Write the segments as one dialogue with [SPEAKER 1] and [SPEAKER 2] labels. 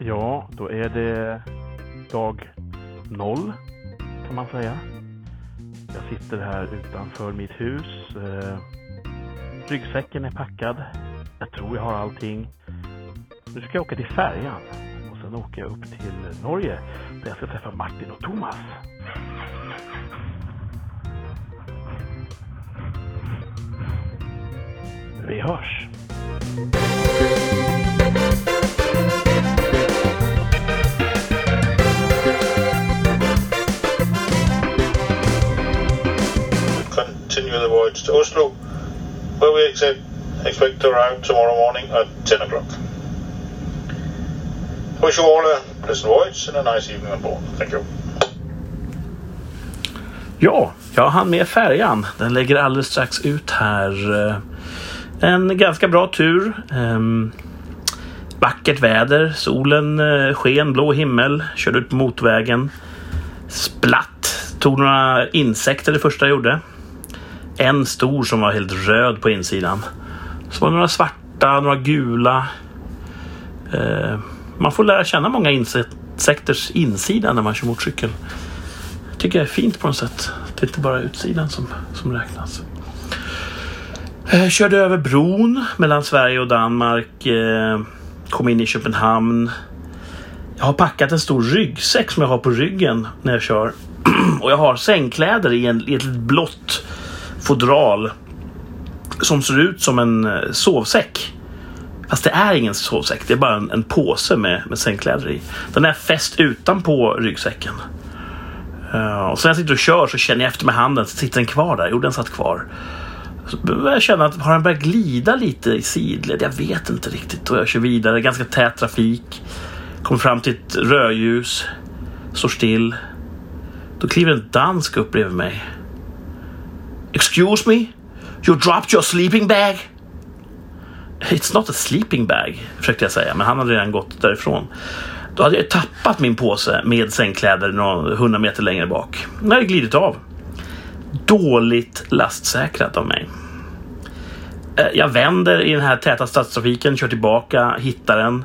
[SPEAKER 1] Ja, då är det dag noll kan man säga. Jag sitter här utanför mitt hus. Eh, ryggsäcken är packad. Jag tror jag har allting. Nu ska jag åka till färjan och sen åker jag upp till Norge där jag ska träffa Martin och Thomas. Vi hörs!
[SPEAKER 2] continue the voyage to Oslo, where we expect, expect to arrive tomorrow morning at 10 o'clock. Wish you all a pleasant voyage and a nice evening on board. Thank you.
[SPEAKER 1] Ja, jag hann med färjan. Den lägger alldeles strax ut här. Eh, En ganska bra tur. Ehm, Vackert väder, solen eh, sken, blå himmel. Körde ut på motvägen. Splatt! Tog några insekter det första jag gjorde. En stor som var helt röd på insidan. Så var det några svarta, några gula. Eh, Man får lära känna många insekters insida när man kör motorcykel tycker jag är fint på något sätt. Det är inte bara utsidan som, som räknas. Eh, körde över bron mellan Sverige och Danmark. Eh, kom in i Köpenhamn. Jag har packat en stor ryggsäck som jag har på ryggen när jag kör. och jag har sängkläder i, en, i ett blått fodral. Som ser ut som en eh, sovsäck. Fast det är ingen sovsäck. Det är bara en, en påse med, med sängkläder i. Den är fäst utanpå ryggsäcken. Ja, Eh, och sen när jag sitter och kör så känner jag efter med handen, så sitter den kvar där? Jo, den satt kvar. Så börjar jag känna att har den börjat glida lite i sidled? Jag vet inte riktigt. Och jag kör vidare, ganska tät trafik. Kommer fram till ett rödljus. Står still. Då kliver en dansk upp bredvid mig. Excuse me? You dropped your sleeping bag? It's not a sleeping bag, försökte jag säga, men han hade redan gått därifrån. Då hade jag tappat min påse med sängkläder några hundra meter längre bak. Den hade glidit av. Dåligt lastsäkrat av mig. Eh, Jag vänder i den här täta stadstrafiken, kör tillbaka, hittar den.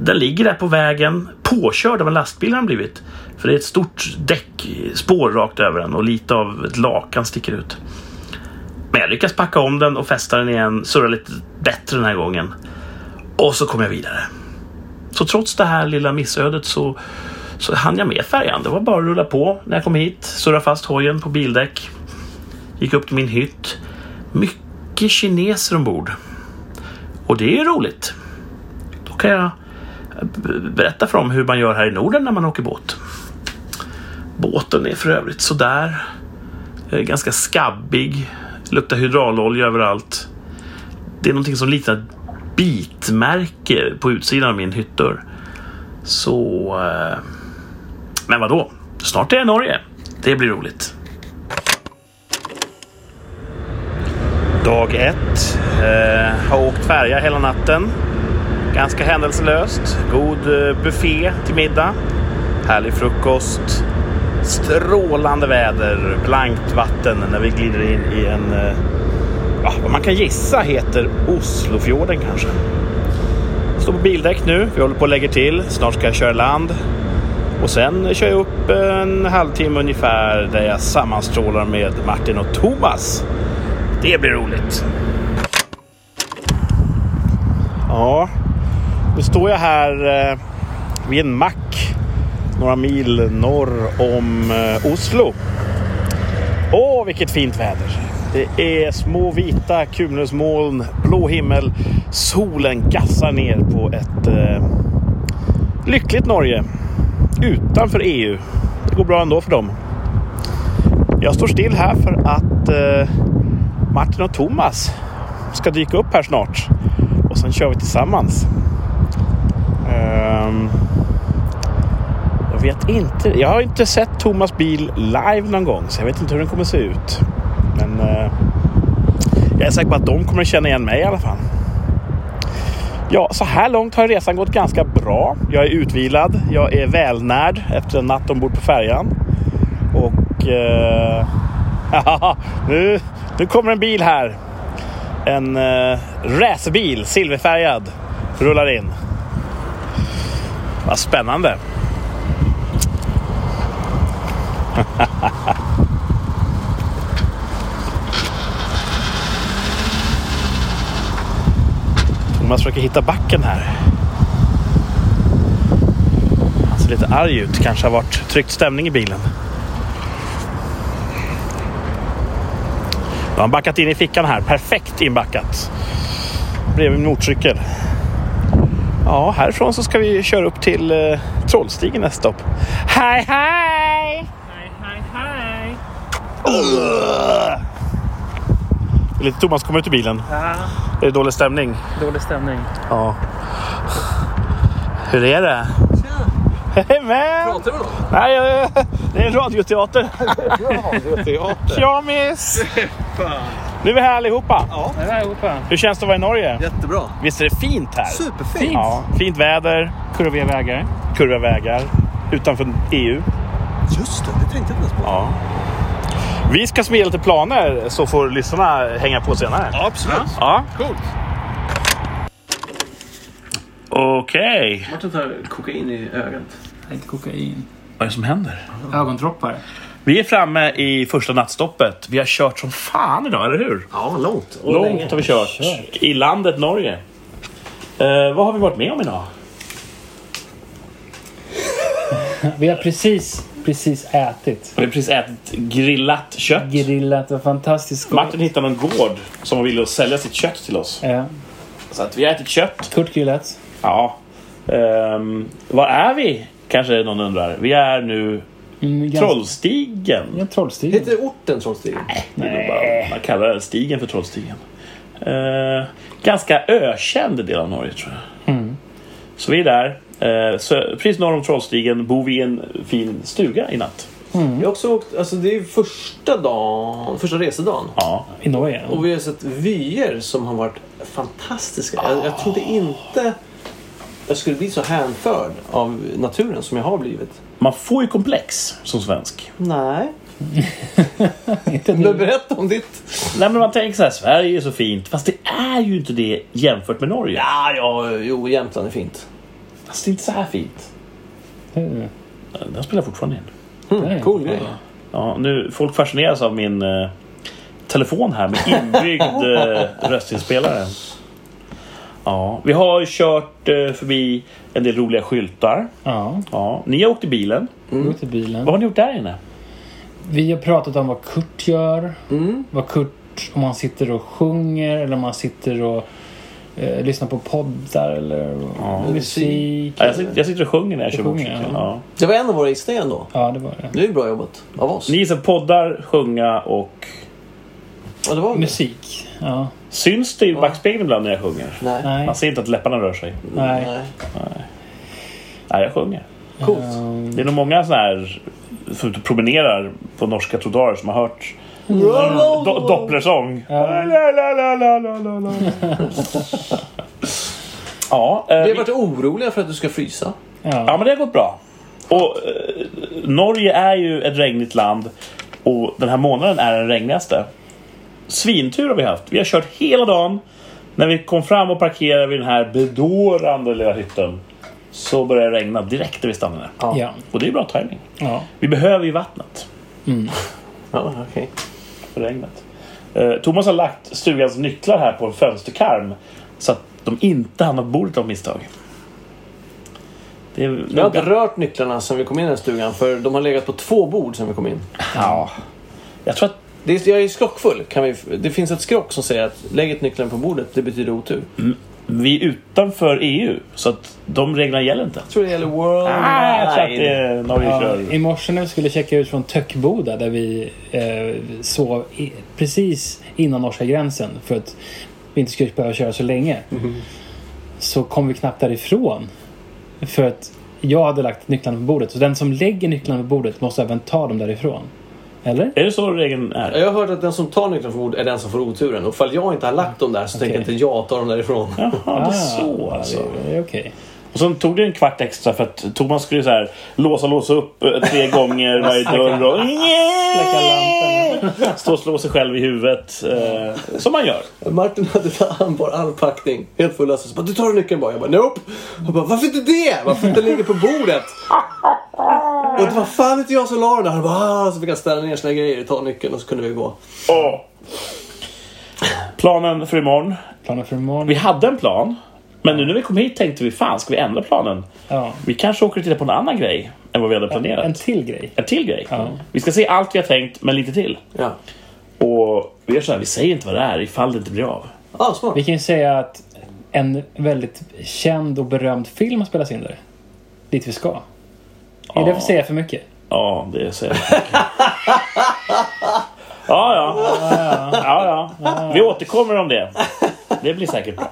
[SPEAKER 1] Den ligger där på vägen, påkörd av en lastbil har den blivit. För det är ett stort däckspår rakt över den och lite av ett lakan sticker ut. Men jag lyckas packa om den och fästa den igen, surra lite bättre den här gången. Och så kommer jag vidare. Så trots det här lilla missödet så, så hann jag med färjan. Det var bara att rulla på när jag kom hit. Surra fast hojen på bildäck. Gick upp till min hytt. Mycket kineser ombord. Och det är ju roligt. Då kan jag b- berätta för dem hur man gör här i Norden när man åker båt. Båten är för övrigt sådär. Eh, Ganska skabbig. Luktar hydraulolja överallt. Det är någonting som liknar ett bitmärke på utsidan av min hyttdörr. Så... eh, Men vadå? Snart är jag i Norge. Det blir roligt. Dag ett. Eh, har åkt färja hela natten. Ganska händelselöst. God eh, buffé till middag. Härlig frukost. Strålande väder. Blankt vatten när vi glider in i en eh, ja, vad man kan gissa heter Oslofjorden kanske. Står på bildäck nu, vi håller på att lägga till. Snart ska jag köra i land. Och sen kör jag upp en halvtimme ungefär där jag sammanstrålar med Martin och Thomas. Det blir roligt. Ja, nu står jag här eh, vid en mack några mil norr om eh, Oslo. Åh, vilket fint väder! Det är små vita kulnäsmoln, blå himmel, solen gassar ner på ett eh, lyckligt Norge utanför EU. Det går bra ändå för dem. Jag står still här för att eh, Martin och Thomas ska dyka upp här snart och sen kör vi tillsammans. Ehm, jag vet inte. Jag har inte sett Thomas bil live någon gång så jag vet inte hur den kommer se ut. Men eh, jag är säker på att de kommer känna igen mig i alla fall. Ja, så här långt har resan gått ganska bra. Jag är utvilad. Jag är välnärd efter en natt ombord på färjan. Och... Eh, nu, nu kommer en bil här. En eh, racerbil, silverfärgad, rullar in. Vad spännande. Man försöker hitta backen här. Han ser lite arg ut. Kanske har varit tryckt stämning i bilen. Då har han backat in i fickan här. Perfekt inbackat. Bredvid min motorcykel. Ja, härifrån så ska vi köra upp till eh, Trollstigen nästa stopp. Hej, hej! Det är lite Thomas kommer ut ur bilen. Det är dålig stämning.
[SPEAKER 3] Dålig stämning.
[SPEAKER 1] Ja. Hur är det? Hej man!
[SPEAKER 3] Pratar du då?
[SPEAKER 1] Nej, jag- det är en radioteater. Tjamis! Nu är vi här allihopa.
[SPEAKER 3] Det var Europa.
[SPEAKER 1] Hur känns det att vara i Norge?
[SPEAKER 4] Jättebra.
[SPEAKER 1] Visst är det fint här?
[SPEAKER 4] Superfint.
[SPEAKER 1] Ja, fint väder,
[SPEAKER 3] Kurviga vägar.
[SPEAKER 1] kurviga vägar, utanför E EU.
[SPEAKER 4] Just det, det tänkte jag inte ens på.
[SPEAKER 1] Ja. Vi ska smida lite planer så får lyssnarna hänga på senare.
[SPEAKER 4] Absolut.
[SPEAKER 1] Ja.
[SPEAKER 4] Coolt.
[SPEAKER 1] Okej.
[SPEAKER 4] Martin tar kokain i ögat.
[SPEAKER 3] Inte kokain.
[SPEAKER 1] Vad är det som händer?
[SPEAKER 3] Ögondroppar.
[SPEAKER 1] Vi är framme i första nattstoppet. Vi har kört som fan idag, eller hur?
[SPEAKER 4] Ja, långt. Och
[SPEAKER 1] Långt har vi kört. I landet Norge. Eh, vad har vi varit med om idag?
[SPEAKER 3] Vi har precis, precis ätit.
[SPEAKER 1] Vi har precis ätit grillat kött.
[SPEAKER 3] Grillat. Det var fantastiskt gott.
[SPEAKER 1] Martin hittade någon gård som ville sälja sitt kött till oss.
[SPEAKER 3] Ja.
[SPEAKER 1] Så att vi har ätit kött.
[SPEAKER 3] Kort grillat.
[SPEAKER 1] Ja. Ehm, var är vi? Kanske någon undrar. Vi är nu
[SPEAKER 3] Mm, ganska-
[SPEAKER 1] Trollstigen.
[SPEAKER 3] Ja, Trollstigen.
[SPEAKER 4] Heter orten Trollstigen?
[SPEAKER 1] Det är nog bara- Man kallar den stigen för Trollstigen. Eh, ganska ökänd del av Norge tror jag. Så vi är där. Eh, sö- precis norr om Trollstigen bor vi i en fin stuga i natt.
[SPEAKER 4] Vi har också åkt, alltså det är ju första dagen, första resedagen.
[SPEAKER 1] Ja.
[SPEAKER 3] I Norge.
[SPEAKER 4] Och vi har sett vyer som har varit fantastiska. Jag, jag trodde inte jag skulle bli så hänförd av naturen som jag har blivit.
[SPEAKER 1] Man får ju komplex som svensk.
[SPEAKER 4] Nej.
[SPEAKER 3] Inte
[SPEAKER 4] Men
[SPEAKER 3] nu.
[SPEAKER 4] berätta om ditt.
[SPEAKER 1] Nej, men man tänker så här, Sverige är så fint. Fast det är ju inte det jämfört med Norge.
[SPEAKER 4] Ja, Ah, ja, jo, Jämtland är fint.
[SPEAKER 1] Fast det är inte så här fint.
[SPEAKER 3] Mm.
[SPEAKER 1] Den spelar fortfarande in.
[SPEAKER 3] Nej.
[SPEAKER 4] Cool grej.
[SPEAKER 1] Ja, nu, folk fascineras av min eh, telefon här med inbyggd eh, röstinspelare. Ja, vi har ju kört eh, förbi en del roliga skyltar.
[SPEAKER 3] Ja,
[SPEAKER 1] Ja, ni har åkt i bilen.
[SPEAKER 3] gå till bilen.
[SPEAKER 1] Vad har ni gjort där inne?
[SPEAKER 3] Vi har pratat om vad Kurt gör. Vad Kurt, om han sitter och sjunger eller om han sitter och eh, lyssnar på poddar eller musik.
[SPEAKER 1] Ja, jag, sitter, jag sitter och sjunger när jag kör
[SPEAKER 3] sjunger,
[SPEAKER 1] motorcykel.
[SPEAKER 3] ja.
[SPEAKER 1] Ja.
[SPEAKER 4] Det var en av våra gissningar ändå.
[SPEAKER 3] Ja, det var det.
[SPEAKER 4] Det är ju bra jobbat av oss.
[SPEAKER 1] Ni gissar poddar, sjunga och...
[SPEAKER 4] Ja, det var det.
[SPEAKER 3] Musik. Ja.
[SPEAKER 1] Syns det i backspegeln ibland när jag sjunger?
[SPEAKER 4] Nej.
[SPEAKER 3] Nej.
[SPEAKER 1] Man ser inte att läpparna rör sig.
[SPEAKER 3] Nej.
[SPEAKER 1] Nej, jag sjunger.
[SPEAKER 4] Coolt.
[SPEAKER 1] Det är nog många sådana här som ute och promenerar på norska trottoarer som har hört
[SPEAKER 4] Eh,
[SPEAKER 1] do dopplersång.
[SPEAKER 3] Ja.
[SPEAKER 1] La, la, la, la, la, la, la. ja, eh,
[SPEAKER 4] Vi
[SPEAKER 1] vi-
[SPEAKER 4] har varit oroliga för att du ska frysa.
[SPEAKER 1] ja,
[SPEAKER 3] Ja.
[SPEAKER 1] men det har gått bra. Och, eh, Norge är ju ett regnigt land och den här månaden är den regnigaste. Svintur har vi haft. Vi har kört hela dagen. När vi kom fram och parkerade vid den här bedårande lilla hytten så började det regna direkt när vi stannade.
[SPEAKER 3] Ja.
[SPEAKER 1] Och det är bra timing.
[SPEAKER 3] ja.
[SPEAKER 1] Vi behöver ju vattnet.
[SPEAKER 4] Ja, okej.
[SPEAKER 1] för regnet. Eh, Thomas har lagt stugans nycklar här på en fönsterkarm så att de inte hamnar på bordet av misstag. Det är
[SPEAKER 4] Jag har
[SPEAKER 1] noga.
[SPEAKER 4] inte rört nycklarna sedan vi kom in i den här stugan för de har legat på två bord sedan vi kom in.
[SPEAKER 1] Ja. Jag tror att
[SPEAKER 4] Det är, jag är skrockfull. Kan vi, det finns ett skrock som säger att lägg ett nycklarna på bordet, det betyder otur.
[SPEAKER 1] vi är utanför EU så att de reglerna gäller inte.
[SPEAKER 4] Jag tror det gäller world...
[SPEAKER 1] Ah, jag tror att det
[SPEAKER 4] Nej,
[SPEAKER 1] är Norge
[SPEAKER 3] Ja,
[SPEAKER 1] kör.
[SPEAKER 3] I morse när vi skulle checka ut från Töckboda där vi eh, sov i, precis innan norska gränsen för att vi inte skulle behöva köra så länge.
[SPEAKER 1] Mhm.
[SPEAKER 3] Så kom vi knappt därifrån. För att jag hade lagt nycklarna på bordet. Så den som lägger nycklarna på bordet måste även ta dem därifrån. Eller?
[SPEAKER 1] Är det så regeln är?
[SPEAKER 4] Jag har hört att den som tar nycklarna på bordet är den som får oturen. Och ifall jag inte har lagt dem där så tänker jag inte jag tar dem därifrån.
[SPEAKER 1] Jaha, det är
[SPEAKER 3] Ah,
[SPEAKER 1] så
[SPEAKER 3] det-
[SPEAKER 1] alltså.
[SPEAKER 3] det är Okej.
[SPEAKER 1] Och sen tog det en kvart extra för att Thomas skulle så här låsa låsa upp eh, tre gånger varje dörr och...
[SPEAKER 3] Släcka lamporna.
[SPEAKER 1] Stå och slå sig själv i huvudet. Eh, som man gör.
[SPEAKER 5] Martin hade fan bara all packning. Helt full ös. Så bara, Du tar nyckeln bara. Jag bara nope. Jag bara varför inte det? Varför inte den ligger på bordet? Och det var fan inte jag som la den där. Han bara ah. Så fick han ställa ner sina grejer, ta nyckeln och så kunde vi gå.
[SPEAKER 1] Åh. Planen för imorgon.
[SPEAKER 3] Planen för imorgon?
[SPEAKER 1] Vi hade en plan. Men nu när vi kom hit tänkte vi fan ska vi ändra planen?
[SPEAKER 3] Ja.
[SPEAKER 1] Vi kanske åker och tittar på en annan grej än vad vi hade planerat.
[SPEAKER 3] En till grej.
[SPEAKER 1] En till grej.
[SPEAKER 3] Ja.
[SPEAKER 1] Vi ska se allt vi har tänkt men lite till.
[SPEAKER 5] Ja.
[SPEAKER 1] Och vi gör så här, vi säger inte vad det är ifall det inte blir av.
[SPEAKER 5] Ah, smart.
[SPEAKER 3] Vi kan ju säga att en väldigt känd och berömd film har spelats in där. Dit vi ska. Är det för att säga för mycket?
[SPEAKER 1] Ja, det säger jag. Ja, ja. ja, ja. Vi återkommer om det. Det blir säkert bra.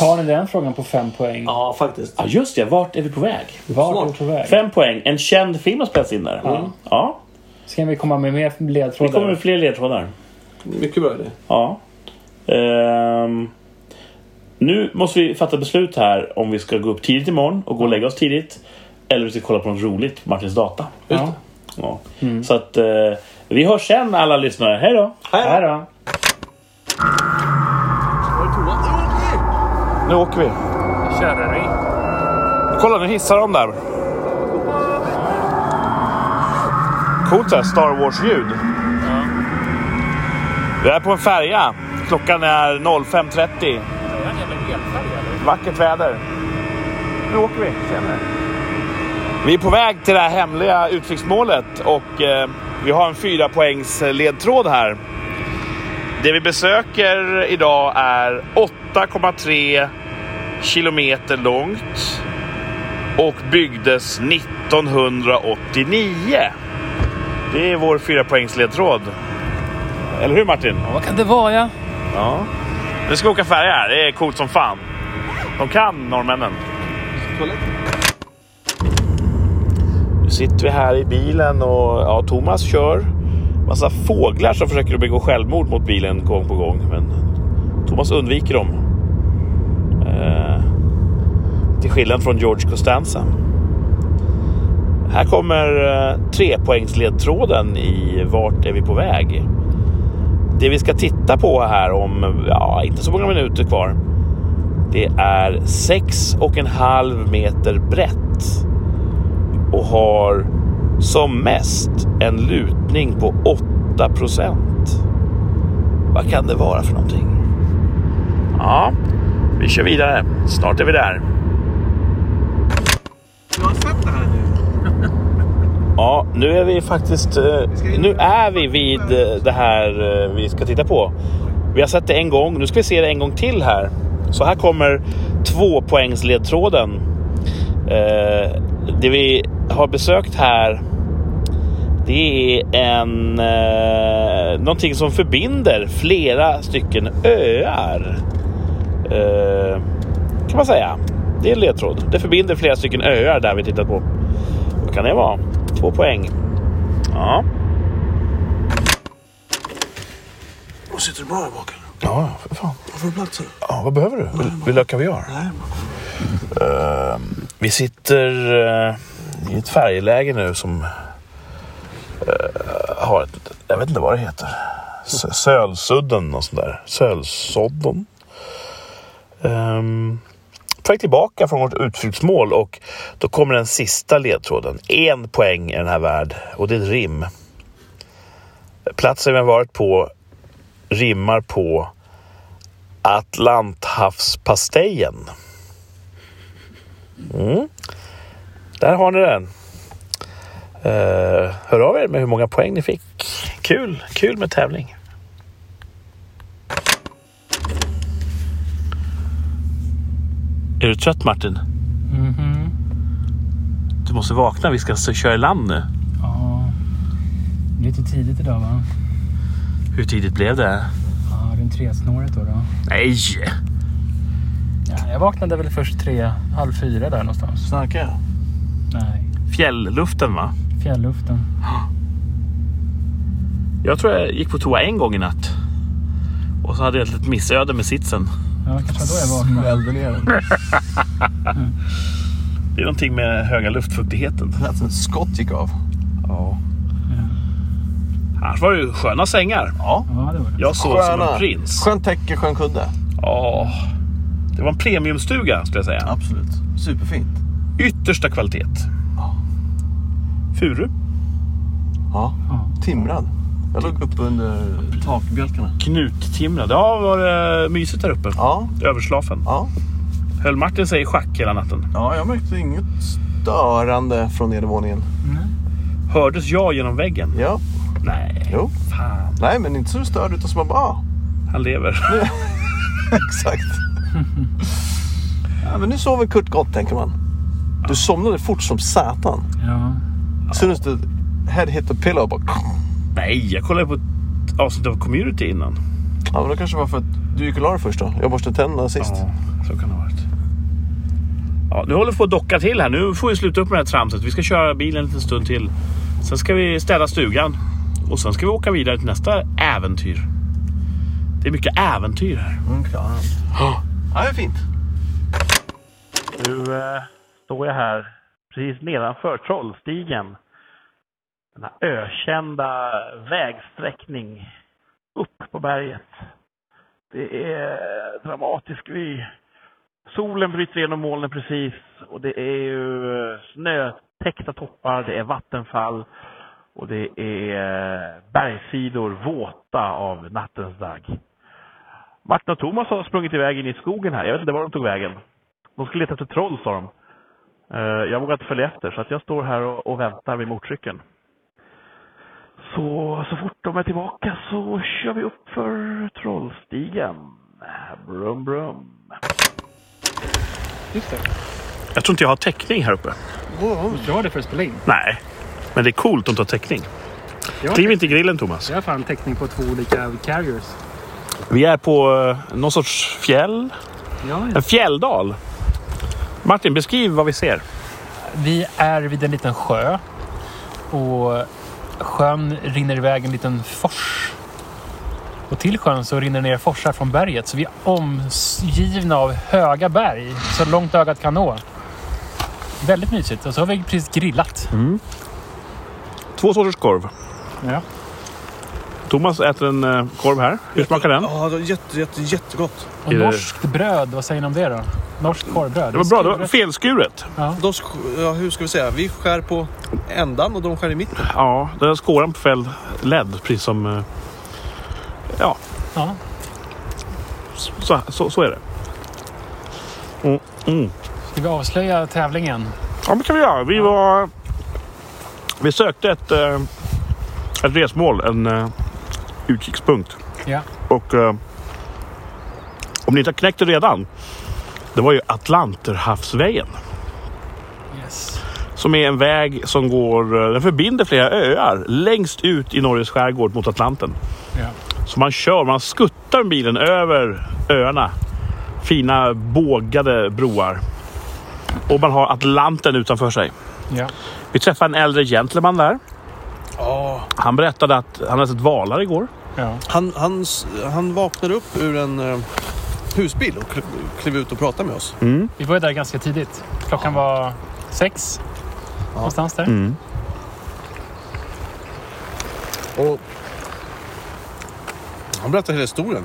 [SPEAKER 3] Har ni den frågan på fem poäng?
[SPEAKER 5] Ja, faktiskt.
[SPEAKER 1] Ja, just det. Vart är vi på väg?
[SPEAKER 3] Vart är vi
[SPEAKER 5] Smart.
[SPEAKER 3] på väg?
[SPEAKER 1] Fem poäng. En känd film har spelats in där. Ja,
[SPEAKER 3] Ska vi komma med mer
[SPEAKER 1] det kommer
[SPEAKER 3] ledtrådar?
[SPEAKER 1] fler ledtrådar.
[SPEAKER 5] Mycket bra idé.
[SPEAKER 1] Ja. Ehm, nu måste vi fatta beslut här om vi ska gå upp tidigt imorgon och gå och lägga oss tidigt. Eller om vi ska kolla på något roligt på Martins data.
[SPEAKER 3] Ja.
[SPEAKER 1] Ja. Så att eh, vi hörs sen alla lyssnare. Hej då!
[SPEAKER 3] Här då.
[SPEAKER 1] Nu åker vi.
[SPEAKER 3] Kör vi.
[SPEAKER 1] Kolla, nu hissar de där. Coolt såhär Star Wars-ljud. Vi är på en färja. Klockan är 05.30. Vackert väder. Nu åker vi senare. Vi är på väg till det här hemliga utflyktsmålet och eh, vi har en fyra poängs ledtråd här. Det vi besöker idag är 8,3 kilometer långt och byggdes 1989. Det är vår fyrapoängsledtråd. Eller hur Martin?
[SPEAKER 3] Vad kan det vara ja?
[SPEAKER 1] Ja. Nu ska vi åka färja här. Det är coolt som fan. De kan norrmännen. Nu sitter vi här i bilen och ja, Thomas kör. Massa fåglar som försöker begå självmord mot bilen gång på gång. Men Thomas undviker dem. Eh, till skillnad från George Costanza. Här kommer eh, trepoängsledtråden i Vart är vi på väg? Det vi ska titta på här om ja, inte så många minuter kvar. Det är sex och en halv meter brett och har som mest en lutning på 8 procent. Vad kan det vara för någonting? Ja, vi kör vidare. Snart är vi där.
[SPEAKER 4] Du har sett det här nu?
[SPEAKER 1] Ja, nu är vi faktiskt... eh, Nu är vi vid eh, det här eh, vi ska titta på. Vi har sett det en gång, nu ska vi se det en gång till här. Så här kommer två poängsledtråden. Eh, Det vi har besökt här det är en, eh, någonting som förbinder flera stycken öar. Eh, kan man säga. Det är en ledtråd. Det förbinder flera stycken öar där vi tittat på. Vad kan det vara? Två poäng. Ja.
[SPEAKER 5] Och sitter du bra här bak? eller?
[SPEAKER 6] Ja, för fan.
[SPEAKER 5] Vad får du plats här?
[SPEAKER 6] Ja, vad behöver du? Vill, vill du ha kaviar?
[SPEAKER 5] Nej,
[SPEAKER 6] Vi sitter eh, i ett färjeläge nu som eh, har ett, jag vet inte vad det heter. S- Sölsudden och sånt där. Sölsodden. Ehm, på väg tillbaka från vårt utflyktsmål och då kommer den sista ledtråden. En poäng är den här värd och det är ett rim. Platsen vi har varit på rimmar på Atlanthavspastejen. Där har ni den. Eh, hör av er med hur många poäng ni fick. Kul, kul med tävling.
[SPEAKER 1] Är du trött Martin?
[SPEAKER 3] Mm-hmm.
[SPEAKER 1] Du måste vakna, vi ska alltså köra i land nu.
[SPEAKER 3] Ja. Lite tidigt idag va?
[SPEAKER 1] Hur tidigt blev det?
[SPEAKER 3] Ja, runt tresnåret då. då.
[SPEAKER 1] Nej!
[SPEAKER 3] Ja, jag vaknade väl först tre, halv fyra där någonstans.
[SPEAKER 5] Snarkar jag?
[SPEAKER 3] Nej,
[SPEAKER 1] Fjällluften va?
[SPEAKER 3] fjälluften.
[SPEAKER 1] Jag tror jag gick på toa en gång i natt. Och så hade jag ett litet missöde med sitsen.
[SPEAKER 3] Ja, kanske då jag vaknade.
[SPEAKER 5] Välde ner den.
[SPEAKER 1] Det är någonting med höga luftfuktigheten.
[SPEAKER 5] Att ett skott gick av.
[SPEAKER 1] Ja. Annars var det ju sköna sängar.
[SPEAKER 4] Ja.
[SPEAKER 3] Mm. Ja, det var det.
[SPEAKER 1] Jag sov som en prins.
[SPEAKER 4] Skönt täcke, skön kudde.
[SPEAKER 1] Ja, det var en premiumstuga skulle jag säga.
[SPEAKER 4] Absolut. Superfint.
[SPEAKER 1] Yttersta kvalitet. Furu.
[SPEAKER 4] Ja. Timrad. Jag låg uppe under takbjälkarna.
[SPEAKER 1] Knuttimrad. Ja, var det mysigt där uppe.
[SPEAKER 4] Ja.
[SPEAKER 1] Överslafen.
[SPEAKER 4] Ja.
[SPEAKER 1] Höll Martin sig i schack hela natten?
[SPEAKER 4] Ja, jag märkte inget störande från nedervåningen.
[SPEAKER 1] Hördes jag genom väggen?
[SPEAKER 4] Ja.
[SPEAKER 1] Nej,
[SPEAKER 4] Jo.
[SPEAKER 1] fan.
[SPEAKER 4] Nej, men inte så störd utan som man bara, ah,
[SPEAKER 1] Han lever.
[SPEAKER 4] exakt. ja, men nu sover Kurt gott tänker man. Du somnade fort som satan.
[SPEAKER 3] Ja.
[SPEAKER 4] Soon as the head hit the pillow bara...
[SPEAKER 1] Nej, jag kollade på ett avsnitt av Community innan.
[SPEAKER 4] Ja, men då kanske det var för att du gick och la dig först då. Jag borstade tänderna sist.
[SPEAKER 1] Ja, så kan det ha varit. Ja, nu håller vi på att docka till här. Nu får vi sluta upp med det här tramset. Vi ska köra bilen en liten stund till. Sen ska vi städa stugan. Och sen ska vi åka vidare till nästa äventyr. Det är mycket äventyr här.
[SPEAKER 4] Mm, klart. Ja, det är fint.
[SPEAKER 1] Nu eh, står jag här precis nedanför Trollstigen. Denna ökända vägsträckning upp på berget. Det är dramatisk vy. Solen bryter igenom molnen precis och det är ju eh, snötäckta toppar, det är vattenfall och det är eh, bergssidor våta av nattens dag. Martin och Thomas har sprungit iväg in i skogen här. Jag vet inte var de tog vägen. De ska leta efter troll, sa de. Eh, Jag vågar inte följa efter, så att jag står här och, och väntar vid motorcykeln. Så, så fort de är tillbaka så kör vi upp för Trollstigen. Brum, brum.
[SPEAKER 3] Just det.
[SPEAKER 1] Jag tror inte jag har täckning här uppe.
[SPEAKER 3] Du har det för att spela in.
[SPEAKER 1] Nej, men det är coolt att ta täckning.
[SPEAKER 3] Jag har,
[SPEAKER 1] Kliv inte i grillen, Thomas.
[SPEAKER 3] jag har fan täckning på två olika carriers.
[SPEAKER 1] Vi är på eh, någon sorts fjäll.
[SPEAKER 3] Ja,
[SPEAKER 1] En fjälldal. Martin, beskriv vad vi ser.
[SPEAKER 3] Vi är vid en liten sjö. Och sjön rinner iväg en liten fors. Och till sjön så rinner ner forsar från berget. Så vi är omgivna av höga berg. Så långt ögat kan nå. Väldigt mysigt. Och så har vi precis grillat.
[SPEAKER 1] Mm. Två sorters korv.
[SPEAKER 3] Ja.
[SPEAKER 1] Thomas äter en eh, korv här. Hur smakar den?
[SPEAKER 4] Ja, det var jätte, jätte, jättegott.
[SPEAKER 3] Och
[SPEAKER 1] Är det-
[SPEAKER 3] norskt bröd, vad säger ni om det då? Norskt korvbröd.
[SPEAKER 1] Det var bra, det var felskuret.
[SPEAKER 4] De, sk- ja, hur ska vi säga? Vi skär på ändan och de skär i mitten.
[SPEAKER 1] Ja, den där skåran på fäll LED, precis som... eh, Ja,
[SPEAKER 3] Ja.
[SPEAKER 1] så, så, så är det. Mm, mm.
[SPEAKER 3] Ska vi avslöja tävlingen?
[SPEAKER 1] Ja, men kan vi göra. Vi var... Vi sökte ett, eh, ett resmål, en eh, utkikspunkt.
[SPEAKER 3] Ja.
[SPEAKER 1] Och eh, om ni inte har knäckt det redan, det var ju Atlanterhavsvägen.
[SPEAKER 3] Yes.
[SPEAKER 1] Som är en väg som går, eh, den förbinder flera öar längst ut i Norges skärgård mot Atlanten.
[SPEAKER 3] Ja.
[SPEAKER 1] Så man kör, man skuttar med bilen över öarna. Fina bågade broar. Och man har Atlanten utanför sig.
[SPEAKER 3] Ja.
[SPEAKER 1] Vi träffade en äldre gentleman där.
[SPEAKER 4] Ja.
[SPEAKER 1] Han berättade att han hade sett valar igår.
[SPEAKER 3] ja.
[SPEAKER 4] Han, han, s- han vaknade upp ur en eh, husbil och kl- klev ut och pratade med oss.
[SPEAKER 3] Vi var ju där ganska tidigt. Klockan var sex. Någonstans där.
[SPEAKER 1] Mm.
[SPEAKER 4] Och han berättade hela historien.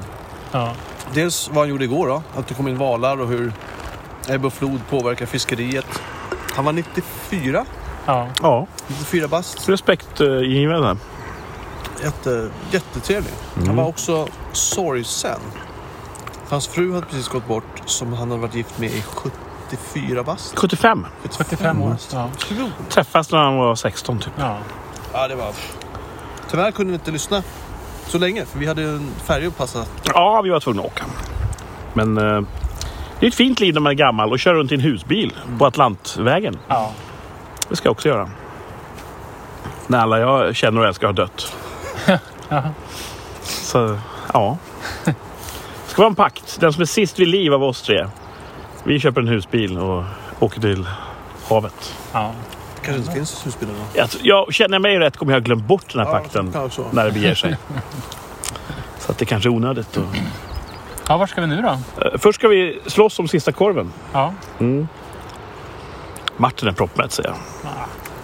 [SPEAKER 3] Ja.
[SPEAKER 4] Dels vad han gjorde igår då, att det kom in valar och hur ebb och flod påverkar fiskeriet. Han var 94,
[SPEAKER 3] Ja.
[SPEAKER 1] Ja,
[SPEAKER 4] 94 bast.
[SPEAKER 1] respektingivande.
[SPEAKER 4] Jätte, jättetrevlig. Han var också sorgsen. Hans fru hade precis gått bort som han hade varit gift med i 74 bast.
[SPEAKER 1] 75.
[SPEAKER 3] 75 år. Ja.
[SPEAKER 4] Otroligt.
[SPEAKER 1] Träffades när han var 16 typ.
[SPEAKER 3] Ja.
[SPEAKER 4] Ja, det var... Tyvärr kunde vi inte lyssna så länge för vi hade en färja att passa.
[SPEAKER 1] Ja, vi var tvungna att åka. Men eh, det är ett fint liv när man är gammal och kör runt i en husbil på Atlantvägen.
[SPEAKER 3] ja.
[SPEAKER 1] Det ska jag också göra. När alla jag känner och älskar har dött. Så, ja. Det ska vara en pakt. Den som är sist vid liv av oss tre. Vi köper en husbil och åker till havet.
[SPEAKER 3] ja.
[SPEAKER 4] kanske inte finns husbilar då.
[SPEAKER 1] Jag, jag, känner jag mig rätt kommer jag ha glömt bort den här pakten
[SPEAKER 4] Ja, så.
[SPEAKER 1] när det beger sig. Så att det kanske är onödigt. Och...
[SPEAKER 3] Ja, var ska vi nu då?
[SPEAKER 1] Eh, Först ska vi slåss om sista korven.
[SPEAKER 3] Ja.
[SPEAKER 1] Martin är proppmätt säger jag.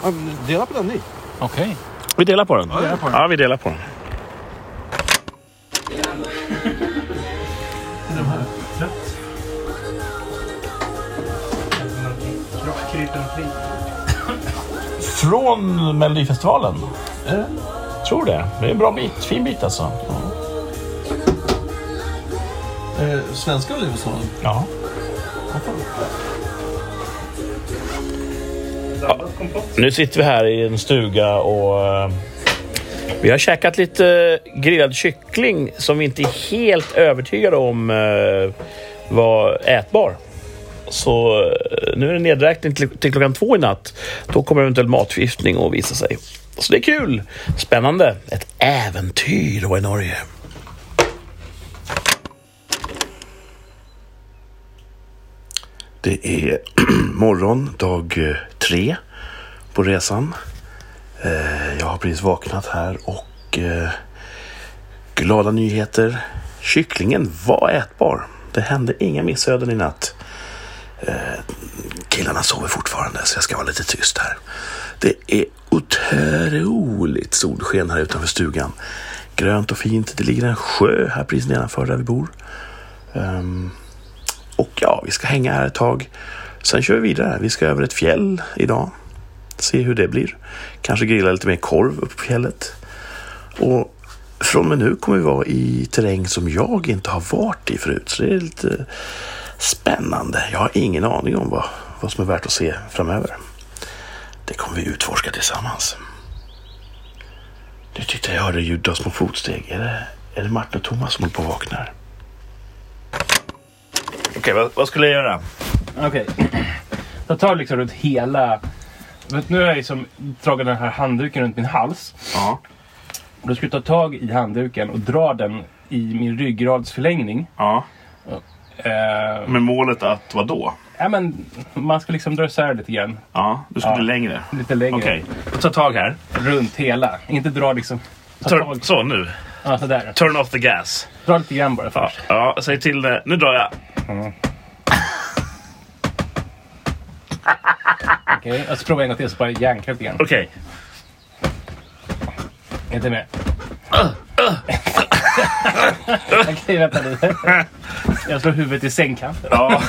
[SPEAKER 4] Ja, men Dela på den ni.
[SPEAKER 3] Okej.
[SPEAKER 1] Vi delar på den. Ja, vi delar på den. Från Melodifestivalen? Eh, tror det. Det är en bra bit. Fin bit alltså.
[SPEAKER 4] Eh, svenska Melodifestivalen?
[SPEAKER 1] Ja. Nu sitter vi här i en stuga och eh, vi har käkat lite grillad kyckling som vi inte är helt övertygade om eh, var ätbar. Så eh, nu är det nedräkning till, till klockan två i natt. Då kommer eventuell matförgiftning att visa sig. Så det är kul! Spännande! Ett äventyr att vara i Norge. Det är morgon, dag eh, tre på resan. Eh, Jag har precis vaknat här och eh, glada nyheter. Kycklingen var ätbar. Det hände inga missöden i natt. Eh, Killarna sover fortfarande så jag ska vara lite tyst här. Det är otroligt solsken här utanför stugan. Grönt och fint. Det ligger en sjö här precis nedanför där vi bor. Ehm, och ja, vi ska hänga här ett tag. Sen kör vi vidare. Vi ska över ett fjäll idag. Se hur det blir. Kanske grilla lite mer korv uppe på fjället. Och från och med nu kommer vi vara i terräng som jag inte har varit i förut. Så det är lite spännande. Jag har ingen aning om vad, vad som är värt att se framöver. Det kommer vi utforska tillsammans. Nu tyckte jag hörde ljud av små fotsteg. Är det, är det Martin och Thomas som håller på och vaknar? Okej, vad, vad skulle jag göra?
[SPEAKER 7] Okej. Då tar jag liksom runt hela... Vet, nu har jag liksom dragit den här handduken runt min hals.
[SPEAKER 1] Ja.
[SPEAKER 7] Då ska jag ta tag i handduken och dra den i min ryggradsförlängning.
[SPEAKER 1] ja.
[SPEAKER 7] Eh,
[SPEAKER 1] Med målet att vad då?
[SPEAKER 7] ja, men man ska liksom dra isär lite grann.
[SPEAKER 1] Ja, du ska
[SPEAKER 7] Ja.
[SPEAKER 1] bli längre.
[SPEAKER 7] Lite längre.
[SPEAKER 1] Okej, ta tag här.
[SPEAKER 7] Runt hela. Inte dra liksom... Ta
[SPEAKER 1] Tur-
[SPEAKER 7] tag.
[SPEAKER 1] så nu.
[SPEAKER 7] Ja, sådär.
[SPEAKER 1] Turn off the gas.
[SPEAKER 7] Dra lite grann bara
[SPEAKER 1] Ja,
[SPEAKER 7] först.
[SPEAKER 1] ja säg till. eh, Nu drar jag.
[SPEAKER 7] Okej. Och så provar jag Alltså, en gång till så bara jankar lite grann.
[SPEAKER 1] Okej.
[SPEAKER 7] Inte med. Okej, vänta lite. Jag slår huvudet i sängkanten.
[SPEAKER 1] Ja,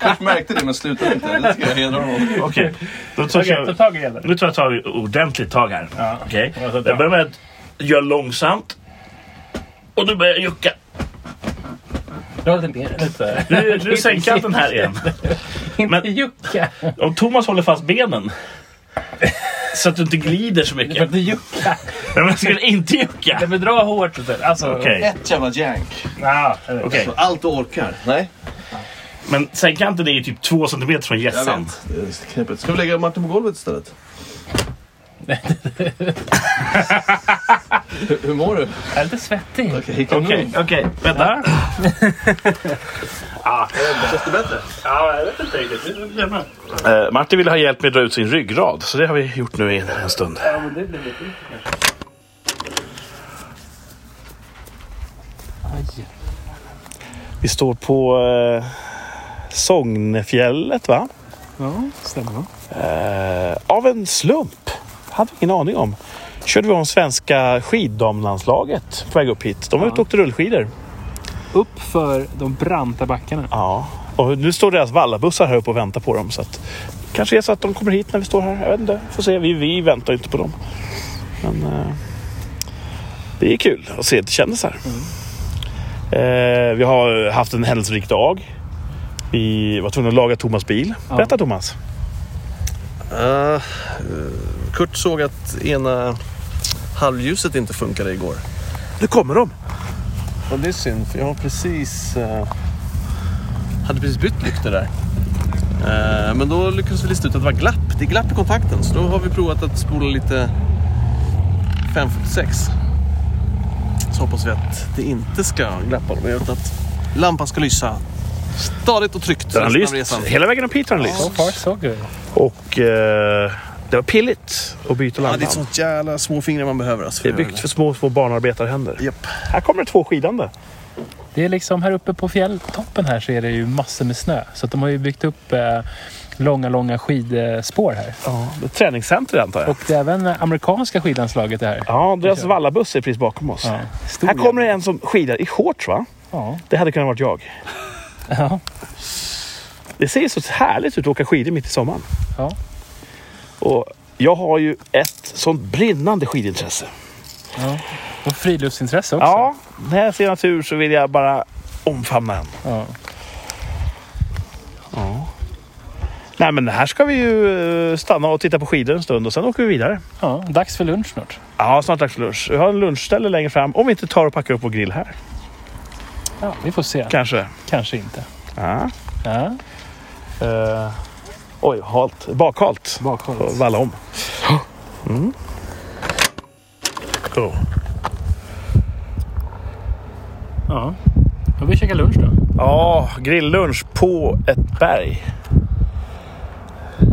[SPEAKER 4] Först märkte det men slutade inte. Det ska jag hedra honom.
[SPEAKER 1] okej. Då tar
[SPEAKER 7] Okej, ta
[SPEAKER 1] jag,
[SPEAKER 7] tag i den.
[SPEAKER 1] nu tar jag tag, ordentligt tag här.
[SPEAKER 7] Ja.
[SPEAKER 1] Okej.
[SPEAKER 7] Ja, så bra.
[SPEAKER 1] Jag börjar med att göra långsamt. Och nu börjar jag jucka.
[SPEAKER 7] Dra lite ner lite.
[SPEAKER 1] Nu, nu sänker jag den här igen.
[SPEAKER 7] Inte
[SPEAKER 1] Men-
[SPEAKER 7] jucka.
[SPEAKER 1] Om Thomas håller fast benen. Så att du inte glider så
[SPEAKER 7] Du får
[SPEAKER 1] mycket.
[SPEAKER 7] inte jucka.
[SPEAKER 1] Men jag skulle inte jucka.
[SPEAKER 7] Nej, men dra hårt lite. Alltså,
[SPEAKER 1] Okej,
[SPEAKER 4] Ett jävla jank.
[SPEAKER 7] ja, jag vet.
[SPEAKER 1] okej.
[SPEAKER 4] Allt du orkar. Nej.
[SPEAKER 1] Men sänkanten är ju typ två centimeter från
[SPEAKER 4] Jag
[SPEAKER 1] hjässan.
[SPEAKER 4] vet. Det är knepigt. Ska vi lägga Martin på golvet istället? hur, hur mår du?
[SPEAKER 7] Jag är lite svettig.
[SPEAKER 4] Okej,
[SPEAKER 1] Okej, okej. Vänta.
[SPEAKER 4] Känns det bättre?
[SPEAKER 1] Ja, jag vet inte riktigt. Eh, Martin ville ha hjälp med att dra ut sin ryggrad, så det har vi gjort nu i en, en stund. Vi står på eh, Sognefjället, va?
[SPEAKER 3] Ja, stämmer.
[SPEAKER 1] Eh, av en slump. Hade vi ingen aning om. Körde vi om svenska skiddamlandslaget på väg upp hit. De var ute och åkte rullskidor.
[SPEAKER 3] Upp för de branta backarna.
[SPEAKER 1] Ja, och nu står deras vallabussar här uppe och väntar på dem. Så att, kanske är så att de kommer hit när vi står här. Jag vet inte. Får se. Vi, vi väntar ju inte på dem. Men eh, det är kul att se lite kändisar. Eh, vi har haft en händelserik dag. Vi var tvungna att laga Thomas bil. Berätta Thomas.
[SPEAKER 4] Eh, eh, Kurt såg att ena halvljuset inte funkade igår.
[SPEAKER 1] Nu kommer de.
[SPEAKER 4] Och det är synd för jag har precis... eh, hade precis bytt lyktor där. Eh, men då lyckades vi lista ut att det var glapp. Det är glapp i kontakten. Så då har vi provat att spola lite 546. Så hoppas vi att det inte ska glappa dem. Utan att lampan ska lysa stadigt och tryggt.
[SPEAKER 1] Den har
[SPEAKER 4] resten av
[SPEAKER 1] lyst.
[SPEAKER 4] resan.
[SPEAKER 1] Hela vägen upp hit har den lyst.
[SPEAKER 7] So far so good.
[SPEAKER 1] Och eh, det var pilligt att byta
[SPEAKER 4] Ja, det är
[SPEAKER 1] lampan.
[SPEAKER 4] sånt jävla små fingrar man behöver. Alltså,
[SPEAKER 1] Det är byggt för små, små barnarbetarhänder.
[SPEAKER 4] Japp.
[SPEAKER 1] Här kommer det två skidande.
[SPEAKER 7] Det är liksom här uppe på fjälltoppen här så är det ju massor med snö. Så att de har ju byggt upp eh,
[SPEAKER 3] långa, långa skidspår här.
[SPEAKER 1] Det är ett träningscenter antar jag.
[SPEAKER 3] Och det är även amerikanska skidlandslaget är här.
[SPEAKER 1] Ja, deras vallabuss är precis bakom oss.
[SPEAKER 3] Ja. Stor
[SPEAKER 1] Här kommer det
[SPEAKER 3] jävel.
[SPEAKER 1] en som skidar i shorts va?
[SPEAKER 3] Ja.
[SPEAKER 1] Det hade kunnat varit jag.
[SPEAKER 3] ja.
[SPEAKER 1] Det ser så härligt ut att åka skidor mitt i sommaren.
[SPEAKER 3] Ja.
[SPEAKER 1] Och jag har ju ett sånt brinnande skidintresse.
[SPEAKER 3] Och friluftsintresse också.
[SPEAKER 1] Ja, när jag ser natur så vill jag bara omfamna den.
[SPEAKER 3] Ja.
[SPEAKER 1] Nej men här ska vi ju eh, stanna och titta på skidor en stund och sen åker vi vidare.
[SPEAKER 3] Ja, Dags för lunch snart.
[SPEAKER 1] Ja, snart dags för lunch. Vi har en lunchställe längre fram om vi inte tar och packar upp vår grill här.
[SPEAKER 3] Ja, vi får se.
[SPEAKER 1] Kanske.
[SPEAKER 3] Kanske inte.
[SPEAKER 1] Ja.
[SPEAKER 3] Ja.
[SPEAKER 1] Eh, oj, halt. Bakhalt.
[SPEAKER 3] Bakhalt.
[SPEAKER 1] Och Valla om. Mm. Cool.
[SPEAKER 3] Ja. Då vi käkar lunch då.
[SPEAKER 1] Ja, grilllunch på ett berg.